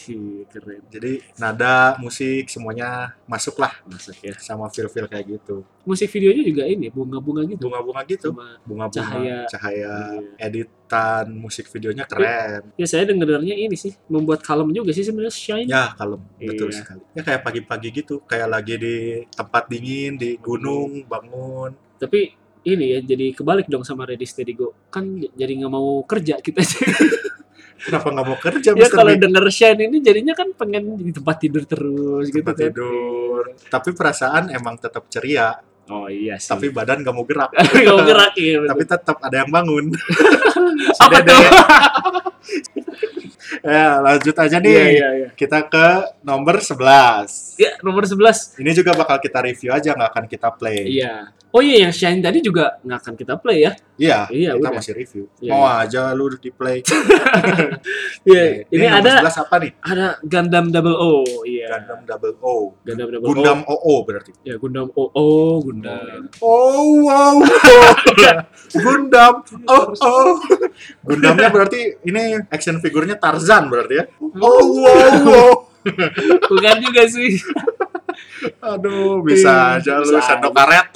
Speaker 1: keren.
Speaker 2: Jadi nada, musik semuanya masuk lah
Speaker 1: Masuk ya.
Speaker 2: sama feel-feel kayak gitu.
Speaker 1: Musik videonya juga ini bunga-bunga gitu.
Speaker 2: Bunga-bunga gitu,
Speaker 1: Sama-
Speaker 2: bunga-bunga,
Speaker 1: Cahaya.
Speaker 2: cahaya,
Speaker 1: Iya.
Speaker 2: editan musik videonya keren.
Speaker 1: Ya saya dengernya ini sih membuat kalem juga sih sebenarnya Shine.
Speaker 2: Ya, kalem, betul
Speaker 1: Iya.
Speaker 2: sekali. Ya kayak pagi-pagi gitu, kayak lagi di tempat dingin, di gunung, bangun.
Speaker 1: Tapi ini ya jadi kebalik dong sama Ready Steady Go. Kan j- jadi nggak mau kerja kita sih.
Speaker 2: Kenapa nggak mau kerja, Mr.
Speaker 1: ya kalau
Speaker 2: Big?
Speaker 1: denger Shine ini jadinya kan pengen di tempat tidur terus gitu
Speaker 2: Tempat
Speaker 1: kan.
Speaker 2: tidur. Tapi perasaan emang tetap ceria,
Speaker 1: Oh iya sih.
Speaker 2: tapi badan nggak mau gerak.
Speaker 1: Tapi nggak mau gerak ya.
Speaker 2: tapi tetap ada yang bangun. Si
Speaker 1: apa
Speaker 2: Dede.
Speaker 1: tuh? Iya,
Speaker 2: Ya, lanjut aja nih.
Speaker 1: Iya iya iya.
Speaker 2: Kita ke nomor 11.
Speaker 1: Ya nomor 11.
Speaker 2: Ini juga bakal kita review aja, nggak akan kita play.
Speaker 1: Iya. Oh iya yang Shine tadi juga nggak akan kita play ya. Iya,
Speaker 2: kita
Speaker 1: udah.
Speaker 2: masih review.
Speaker 1: Iya,
Speaker 2: Mau aja lu di play. Eh,
Speaker 1: Iya, ini,
Speaker 2: nomor
Speaker 1: ada
Speaker 2: 11 apa nih?
Speaker 1: ada Gundam Double O. Iya.
Speaker 2: Gundam Double O.
Speaker 1: Gundam Double O.
Speaker 2: Gundam OO berarti.
Speaker 1: Ya Gundam O O Gundam.
Speaker 2: Oh, wow. Gundam. Oh, oh. Gundamnya berarti ini action figurnya Tarzan berarti ya. Oh, wow, wow.
Speaker 1: Bukan juga sih.
Speaker 2: Aduh, bisa
Speaker 1: Ih,
Speaker 2: aja lu
Speaker 1: Iya, bisa
Speaker 2: sendok
Speaker 1: aja.
Speaker 2: karet.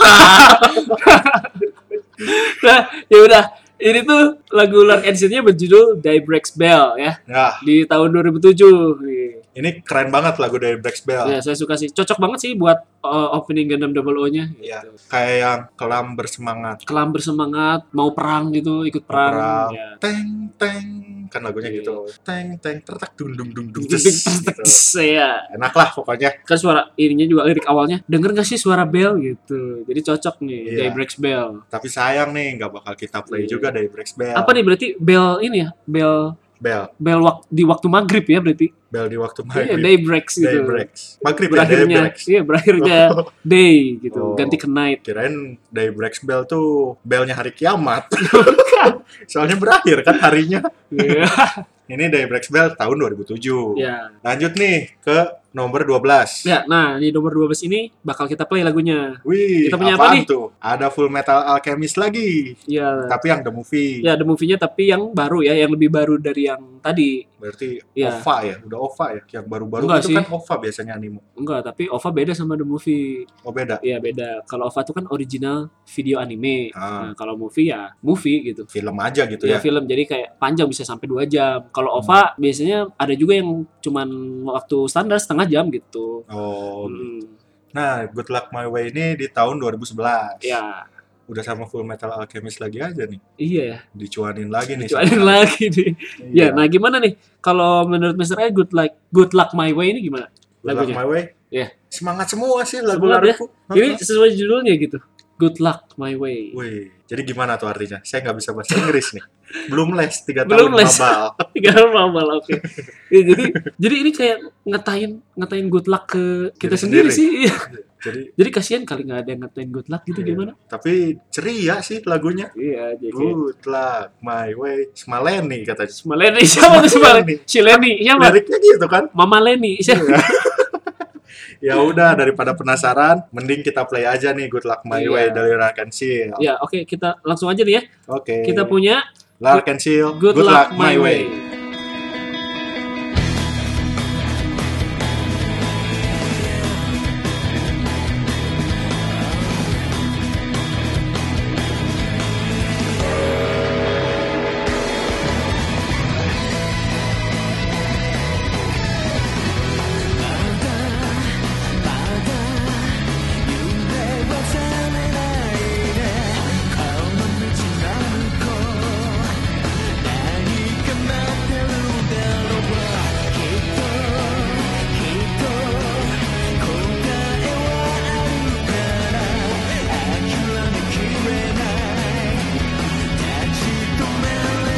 Speaker 1: Nah, ya udah. Ini tuh lagu Lark Ensign-nya berjudul Die Breaks Bell ya
Speaker 2: Nah,
Speaker 1: di tahun 2007. Nih.
Speaker 2: ini keren banget lagu dari Black Bell.
Speaker 1: Ya, saya suka sih. Cocok banget sih buat uh, opening Gundam Double O-nya.
Speaker 2: Iya, kayak yang kelam bersemangat.
Speaker 1: Kelam bersemangat, mau perang gitu, ikut perang.
Speaker 2: Perang.
Speaker 1: Ya.
Speaker 2: Teng teng kan lagunya
Speaker 1: Iya.
Speaker 2: gitu teng teng tertak dung dung dung dung tes, gitu.
Speaker 1: Saya
Speaker 2: enak lah pokoknya
Speaker 1: ya. kan suara ininya juga lirik awalnya denger gak sih suara bell gitu jadi cocok nih
Speaker 2: Iya.
Speaker 1: Daybreak's Bell
Speaker 2: tapi sayang nih nggak bakal kita play
Speaker 1: Iya.
Speaker 2: juga dari Breaks Bell
Speaker 1: apa nih berarti bell ini ya bell
Speaker 2: Bell
Speaker 1: bell wak- di waktu maghrib ya berarti
Speaker 2: Bell di waktu
Speaker 1: iya
Speaker 2: maghrib
Speaker 1: Daybreaks gitu
Speaker 2: Day Breaks maghrib ya Day
Speaker 1: berakhirnya
Speaker 2: Breaks
Speaker 1: iya berakhirnya day gitu
Speaker 2: Oh.
Speaker 1: ganti ke night
Speaker 2: kirain Day Breaks Bell tuh belnya hari kiamat soalnya berakhir kan harinya
Speaker 1: Iya.
Speaker 2: ini Day Breaks Bell tahun 2007
Speaker 1: ya
Speaker 2: lanjut nih ke nomor 12
Speaker 1: ya nah di nomor 12 ini bakal kita play lagunya
Speaker 2: Wih,
Speaker 1: Kita punya apa
Speaker 2: apaan
Speaker 1: nih?
Speaker 2: tuh? Ada Full Metal Alchemist lagi,
Speaker 1: ya
Speaker 2: tapi yang the movie.
Speaker 1: ya the movie-nya tapi yang baru ya yang lebih baru dari yang tadi
Speaker 2: Berarti
Speaker 1: Iya.
Speaker 2: OVA ya, udah OVA ya. Yang baru-baru
Speaker 1: Enggak
Speaker 2: itu
Speaker 1: sih.
Speaker 2: kan OVA biasanya anime.
Speaker 1: enggak tapi OVA beda sama the movie
Speaker 2: Oh beda.
Speaker 1: Iya beda. Kalau OVA itu kan original video anime.
Speaker 2: Ah.
Speaker 1: Nah, kalau movie ya movie gitu.
Speaker 2: Film aja gitu ya.
Speaker 1: Ya, film jadi kayak panjang bisa sampai dua jam.
Speaker 2: Hmm.
Speaker 1: Kalau OVA biasanya ada juga yang cuman waktu standar setengah jam gitu.
Speaker 2: Oh.
Speaker 1: Hmm.
Speaker 2: Nah, Good Luck My Way ini di tahun 2011.
Speaker 1: Ya,
Speaker 2: Udah sama Full Metal Alchemist lagi aja nih.
Speaker 1: iya ya.
Speaker 2: Dicuanin lagi nih.
Speaker 1: Kecuali
Speaker 2: sama-
Speaker 1: lagi nih.
Speaker 2: Iya.
Speaker 1: Ya, nah gimana nih? Kalau menurut Mr. A, Good Luck Good Luck My Way ini gimana?
Speaker 2: Good Luck
Speaker 1: lagunya.
Speaker 2: My Way.
Speaker 1: Iya.
Speaker 2: Semangat semua sih lagu laruku.
Speaker 1: Semangat ya? Ini sesuai judulnya gitu. Good Luck My Way.
Speaker 2: Wih, jadi gimana tuh artinya? Saya nggak bisa bahasa Inggris nih. Belum les 3
Speaker 1: Belum
Speaker 2: tahun
Speaker 1: les.
Speaker 2: mabal.
Speaker 1: Tinggal mabal oke. Ya, jadi jadi ini kayak ngetain ngetain good luck ke kita
Speaker 2: Diri
Speaker 1: sendiri,
Speaker 2: sendiri.
Speaker 1: sih. Iya.
Speaker 2: Jadi
Speaker 1: Jadi kasihan kali nggak ada yang ngatain good luck gitu
Speaker 2: Iya.
Speaker 1: gimana?
Speaker 2: tapi ceria sih lagunya.
Speaker 1: Iya, jadi
Speaker 2: Good luck my way. Smaleni katanya.
Speaker 1: Semaleni siapa tuh Semaleni? Si Leni, siapa?
Speaker 2: Liriknya gitu kan.
Speaker 1: Mama Leni, siapa?
Speaker 2: Ya udah daripada penasaran, mending kita play aja nih Good Luck My
Speaker 1: Iya.
Speaker 2: Way dari Lark and Seal.
Speaker 1: Ya, oke kita langsung aja nih ya.
Speaker 2: Oke.
Speaker 1: Kita punya
Speaker 2: Lark and Seal,
Speaker 1: Good, Luck, My Way.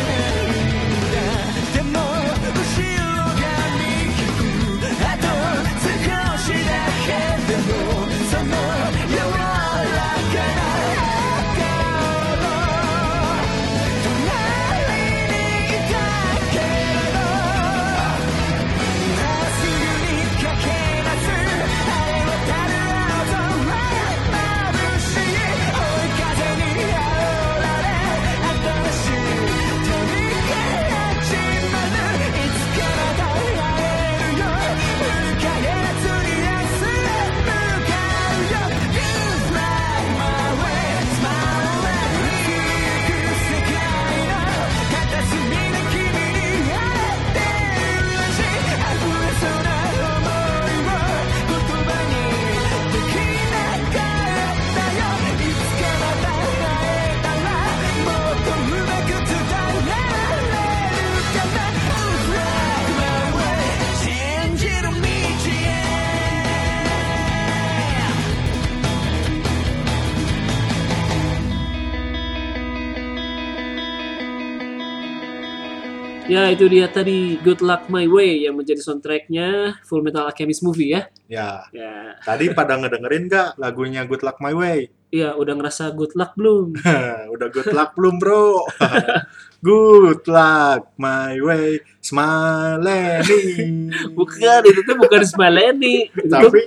Speaker 3: 「でも後ろが見える」「あと少しだけでもその柔らかな顔」「隣にいたけど」「今すぐに駆け出す」「晴れ渡る青空」「眩しい追い風に煽られ」「新しい信じる道へ
Speaker 1: Ya itu dia tadi Good Luck My Way yang menjadi soundtracknya Full Metal Alchemist movie ya.
Speaker 2: Ya,
Speaker 1: Ya,
Speaker 2: tadi pada ngedengerin nggak lagunya Good Luck My Way?
Speaker 1: ya udah ngerasa good luck belum?
Speaker 2: Udah good luck belum, Bro? good luck my way. Smaleni.
Speaker 1: Bukan, itu tuh bukan smile at me. Itu tuh
Speaker 2: Tapi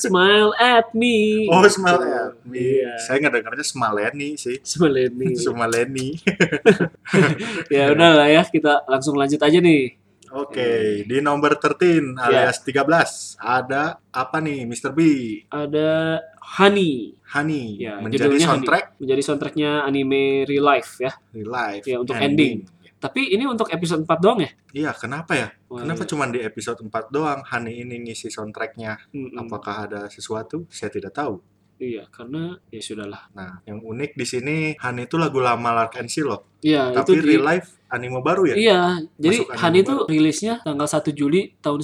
Speaker 1: smile at me.
Speaker 2: oh Smaleni.
Speaker 1: Iya.
Speaker 2: Saya ngedengernya Smaleni sih.
Speaker 1: Smile at me.
Speaker 2: Smaleni.
Speaker 1: ya udah lah ya, kita langsung lanjut aja nih.
Speaker 2: Oke,
Speaker 1: Hmm.
Speaker 2: di nomor 13 alias
Speaker 1: Ya.
Speaker 2: 13 ada apa nih Mr. B?
Speaker 1: Ada Honey.
Speaker 2: Honey
Speaker 1: Ya,
Speaker 2: menjadi
Speaker 1: judulnya
Speaker 2: soundtrack
Speaker 1: Honey. Menjadi soundtracknya anime Real Life ya.
Speaker 2: di live.
Speaker 1: Ya, untuk ending. Tapi ini untuk episode 4 doang ya?
Speaker 2: Iya, kenapa ya?
Speaker 1: Wah,
Speaker 2: Kenapa
Speaker 1: iya.
Speaker 2: cuma di episode 4 doang Honey ini ngisi soundtracknya?
Speaker 1: Mm-mm.
Speaker 2: Apakah ada sesuatu? Saya tidak tahu.
Speaker 1: Iya, karena ya sudahlah.
Speaker 2: Nah, yang unik di sini Han itu lagu lama Lark and Seal loh.
Speaker 1: Iya, itu
Speaker 2: Tapi
Speaker 1: di-
Speaker 2: real life anime baru ya.
Speaker 1: Iya, jadi
Speaker 2: Masuk
Speaker 1: Han
Speaker 2: anime
Speaker 1: itu rilisnya tanggal 1 Juli tahun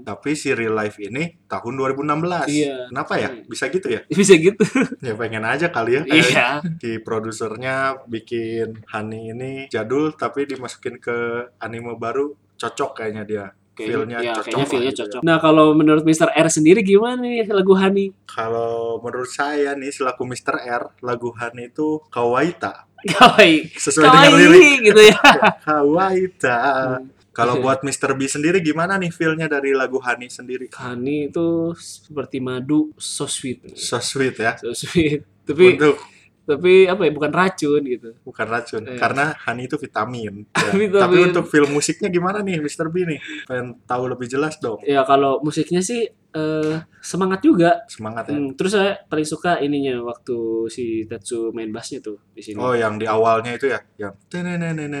Speaker 1: 99.
Speaker 2: Tapi si real life ini tahun 2016.
Speaker 1: Iya.
Speaker 2: Kenapa ya?
Speaker 1: Hmm.
Speaker 2: Bisa gitu ya?
Speaker 1: Bisa gitu.
Speaker 2: Ya pengen aja kali ya. Kayak
Speaker 1: Iya.
Speaker 2: si produsernya bikin Hani ini jadul tapi dimasukin ke anime baru cocok kayaknya dia. Feel-nya
Speaker 1: Iya,
Speaker 2: cocok
Speaker 1: kayaknya
Speaker 2: lah gitu
Speaker 1: feel-nya
Speaker 2: ya.
Speaker 1: cocok. Nah, kalau menurut Mr. R sendiri gimana nih lagu Hani?
Speaker 2: Kalau menurut saya nih selaku Mr. R, lagu Hani itu kawaita.
Speaker 1: Kawaii.
Speaker 2: Sesuai dengan lirik.
Speaker 1: Kawaii gitu ya.
Speaker 2: Kawaita.
Speaker 1: Hmm.
Speaker 2: Kalau buat Mr. B sendiri gimana nih feel-nya dari lagu Hani sendiri?
Speaker 1: Hani itu seperti madu so sweet.
Speaker 2: So sweet ya.
Speaker 1: So sweet. Tapi
Speaker 2: Untuk
Speaker 1: tapi apa ya bukan racun gitu.
Speaker 2: bukan racun
Speaker 1: Iya.
Speaker 2: karena honey itu vitamin. Ya.
Speaker 1: Vitamin.
Speaker 2: Tapi untuk film musiknya gimana nih Mr. B nih? Pengen tahu lebih jelas dong.
Speaker 1: Ya kalau musiknya sih eh, semangat juga.
Speaker 2: Semangat ya.
Speaker 1: Hmm, terus saya paling suka ininya waktu si Tetsu main bassnya tuh di sini.
Speaker 2: Oh, Nah, yang di awalnya itu ya, yang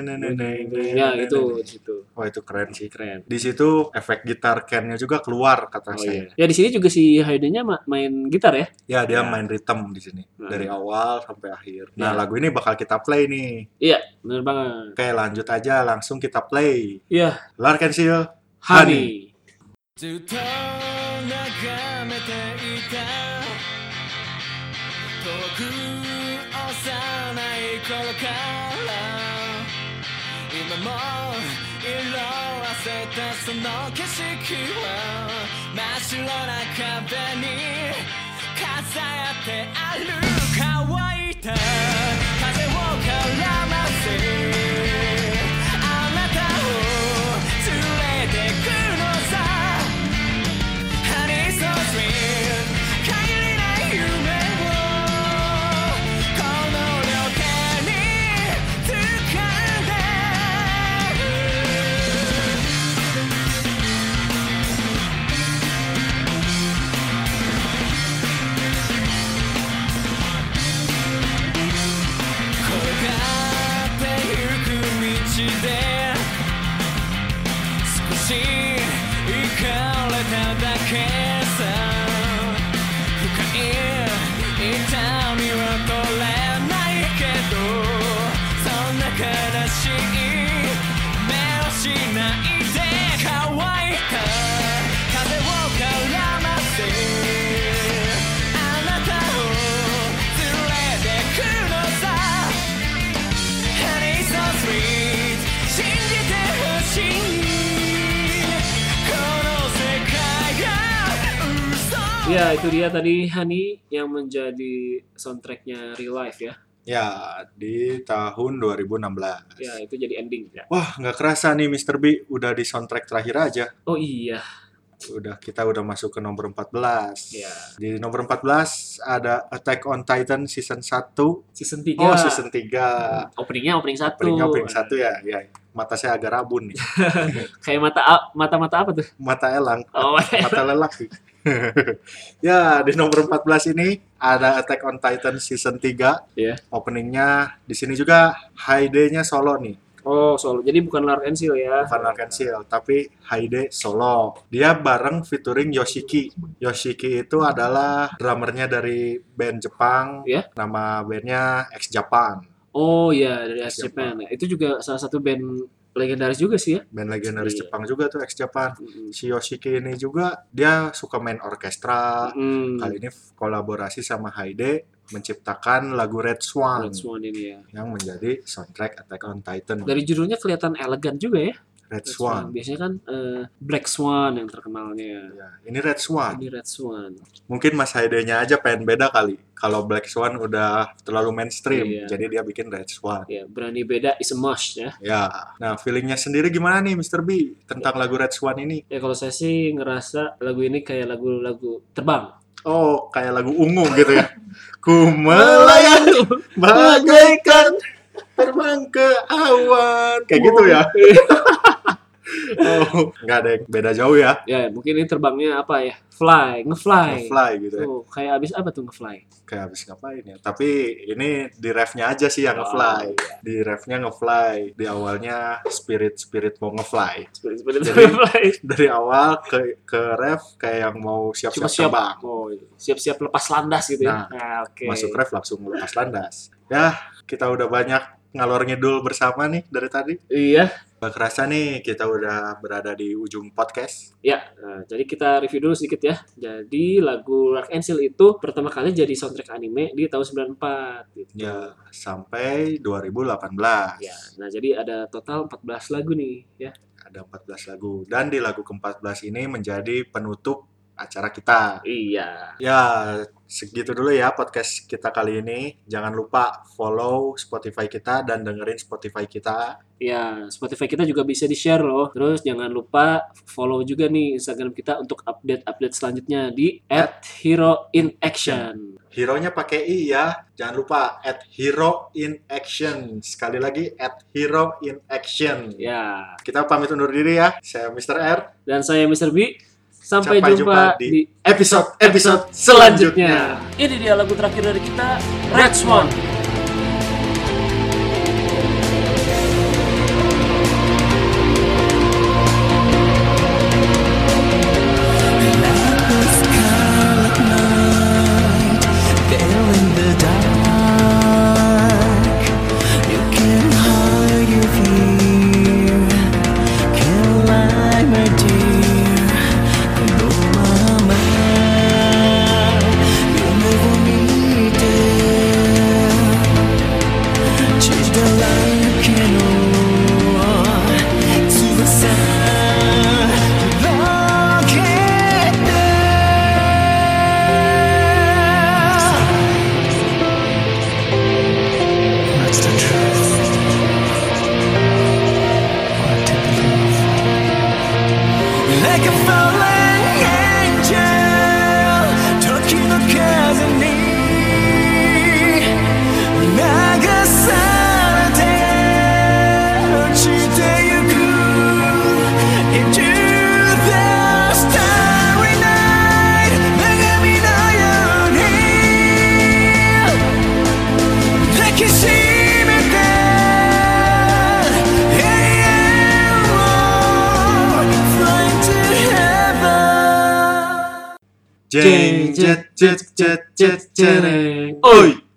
Speaker 1: ya
Speaker 2: nah,
Speaker 1: itu di situ.
Speaker 2: Wah, itu keren sih.
Speaker 1: Masih keren.
Speaker 2: Di situ efek gitar Ken-nya juga keluar kata
Speaker 1: Oh
Speaker 2: saya.
Speaker 1: iya. Ya di sini juga si Haydenya ma- main gitar ya.
Speaker 2: Ya, dia
Speaker 1: Ya.
Speaker 2: main rhythm di sini
Speaker 1: Nah.
Speaker 2: dari awal sampai akhir. Nah,
Speaker 1: Ya.
Speaker 2: lagu ini bakal kita play nih.
Speaker 1: Iya, bener banget.
Speaker 2: Oke, lanjut aja langsung kita play.
Speaker 1: Iya,
Speaker 2: Lark and Seal
Speaker 1: Honey.
Speaker 3: ずっと眺めていた遠く幼い頃から今も色あせたその景色は真っ白な壁に飾ってある乾いた風を絡ませあなたを連れてくのさ Honey so sweet 限りない夢をこの両手に掴んで転がってゆく道で少し行かれただけさ深い痛みは取れないけどそんな悲しい目をしないで乾いた風を絡ませ「あなたを連れてくのさ」「Honey so sweet」「信じてほしい」「この世界が嘘
Speaker 1: Ya itu dia tadi Hani yang menjadi soundtracknya Real Life ya.
Speaker 2: Ya, di tahun 2016.
Speaker 1: Ya itu jadi ending. Ya.
Speaker 2: Wah, nggak kerasa nih Mr. B udah di soundtrack terakhir aja.
Speaker 1: Oh iya,
Speaker 2: Udah kita udah masuk ke nomor 14.
Speaker 1: Iya.
Speaker 2: Di nomor 14 ada Attack on Titan season 1.
Speaker 1: season 3
Speaker 2: Oh, season 3.
Speaker 1: Openingnya opening satu.
Speaker 2: Opening opening 1 ya. Ya, mata saya agak rabun nih.
Speaker 1: Kayak mata mata mata apa tuh?
Speaker 2: Mata elang,
Speaker 1: Oh,
Speaker 2: mata lelak. ya, di nomor 14 ini ada Attack on Titan season 3.
Speaker 1: Iya.
Speaker 2: Openingnya di sini juga Haide-nya solo nih.
Speaker 1: oh solo. Jadi bukan Lark and Seal ya.
Speaker 2: bukan Lark and Seal, tapi Haide solo. Dia bareng featuring Yoshiki. Yoshiki itu adalah drummernya dari band Jepang.
Speaker 1: Iya.
Speaker 2: Nama bandnya X Japan.
Speaker 1: Oh iya dari X
Speaker 2: Siapa?
Speaker 1: Japan. Nah, itu juga salah satu band legendaris juga sih ya.
Speaker 2: Band legendaris
Speaker 1: Iya.
Speaker 2: Jepang juga tuh X Japan.
Speaker 1: Mm.
Speaker 2: Si Yoshiki ini juga dia suka main orkestra.
Speaker 1: Mm.
Speaker 2: Kali ini kolaborasi sama Haide menciptakan lagu Red Swan
Speaker 1: Red Swan ini ya.
Speaker 2: yang menjadi soundtrack Attack on Titan.
Speaker 1: Dari judulnya kelihatan elegan juga ya.
Speaker 2: Red Swan.
Speaker 1: Biasanya kan eh, Black Swan yang terkenalnya.
Speaker 2: Ya, ini Red Swan.
Speaker 1: Ini Red Swan.
Speaker 2: mungkin Mas Haidenya aja pengen beda kali. Kalau Black Swan udah terlalu mainstream,
Speaker 1: Iya.
Speaker 2: jadi dia bikin Red Swan.
Speaker 1: Ya, berani beda is a must ya.
Speaker 2: Ya, nah feelingnya sendiri gimana nih Mr. B tentang lagu Red Swan ini?
Speaker 1: Ya kalau saya sih ngerasa lagu ini kayak lagu-lagu terbang.
Speaker 2: Oh, kayak lagu ungu gitu ya. Ku melayang bagaikan terbang ke awan. Kayak gitu ya. Oh, nggak ada yang beda jauh ya.
Speaker 1: ya mungkin ini terbangnya apa ya fly ngefly
Speaker 2: Fly gitu ya.
Speaker 1: tuh kayak abis apa tuh ngefly
Speaker 2: Kayak habis ngapain ya. Tapi ini di refnya aja sih
Speaker 1: Oh,
Speaker 2: yang ngefly.
Speaker 1: iya.
Speaker 2: Di refnya ngefly. Di awalnya spirit-spirit mau ngefly.
Speaker 1: seperti seperti
Speaker 2: Jadi,
Speaker 1: fly
Speaker 2: Dari awal ke ke ref kayak yang mau
Speaker 1: siap
Speaker 2: siap-siap
Speaker 1: siap
Speaker 2: terbang.
Speaker 1: oh, siap siap lepas landas gitu ya
Speaker 2: Nah,
Speaker 1: nah, oke
Speaker 2: Masuk ref langsung lepas landas. Ya, kita udah banyak ngalor ngidul bersama nih dari tadi.
Speaker 1: iya
Speaker 2: Gak kerasa nih kita udah berada di ujung podcast.
Speaker 1: ya nah, jadi kita review dulu sedikit ya jadi lagu Lark and Seal itu pertama kali jadi soundtrack anime di tahun 94 gitu
Speaker 2: Ya, sampai 2018.
Speaker 1: Ya, nah jadi ada total 14 lagu nih ya.
Speaker 2: Ada 14 lagu. Dan di lagu ke-14 ini menjadi penutup acara kita.
Speaker 1: Iya.
Speaker 2: Ya, segitu dulu ya podcast kita kali ini. Jangan lupa follow Spotify kita dan dengerin Spotify kita.
Speaker 1: Ya, Spotify kita juga bisa di-share loh. Terus jangan lupa follow juga nih Instagram kita untuk update-update selanjutnya di @heroinaction.
Speaker 2: Hero-nya pakai I ya. Jangan lupa at Hero in Action. Sekali lagi at Hero in Action.
Speaker 1: Ya.
Speaker 2: Kita pamit undur diri ya. Saya Mr. R.
Speaker 1: Dan saya Mr. B. Sampai,
Speaker 2: Sampai jumpa
Speaker 1: jumpa,
Speaker 2: di
Speaker 1: di
Speaker 2: episode-episode selanjutnya.
Speaker 1: selanjutnya. Ini dia lagu terakhir dari kita, Red Swan.
Speaker 3: in the dark. You can hide your fear. Can lie, my dear. No, mama. You'll never meet it. Change the light candle to the sun. Look at that. That's the truth. What to believe. Like a fallen angel, talking of me. Into the starry night, 나가미나연히 Heaven.
Speaker 2: Jeng jet jet jet jet jereng.
Speaker 1: Oi.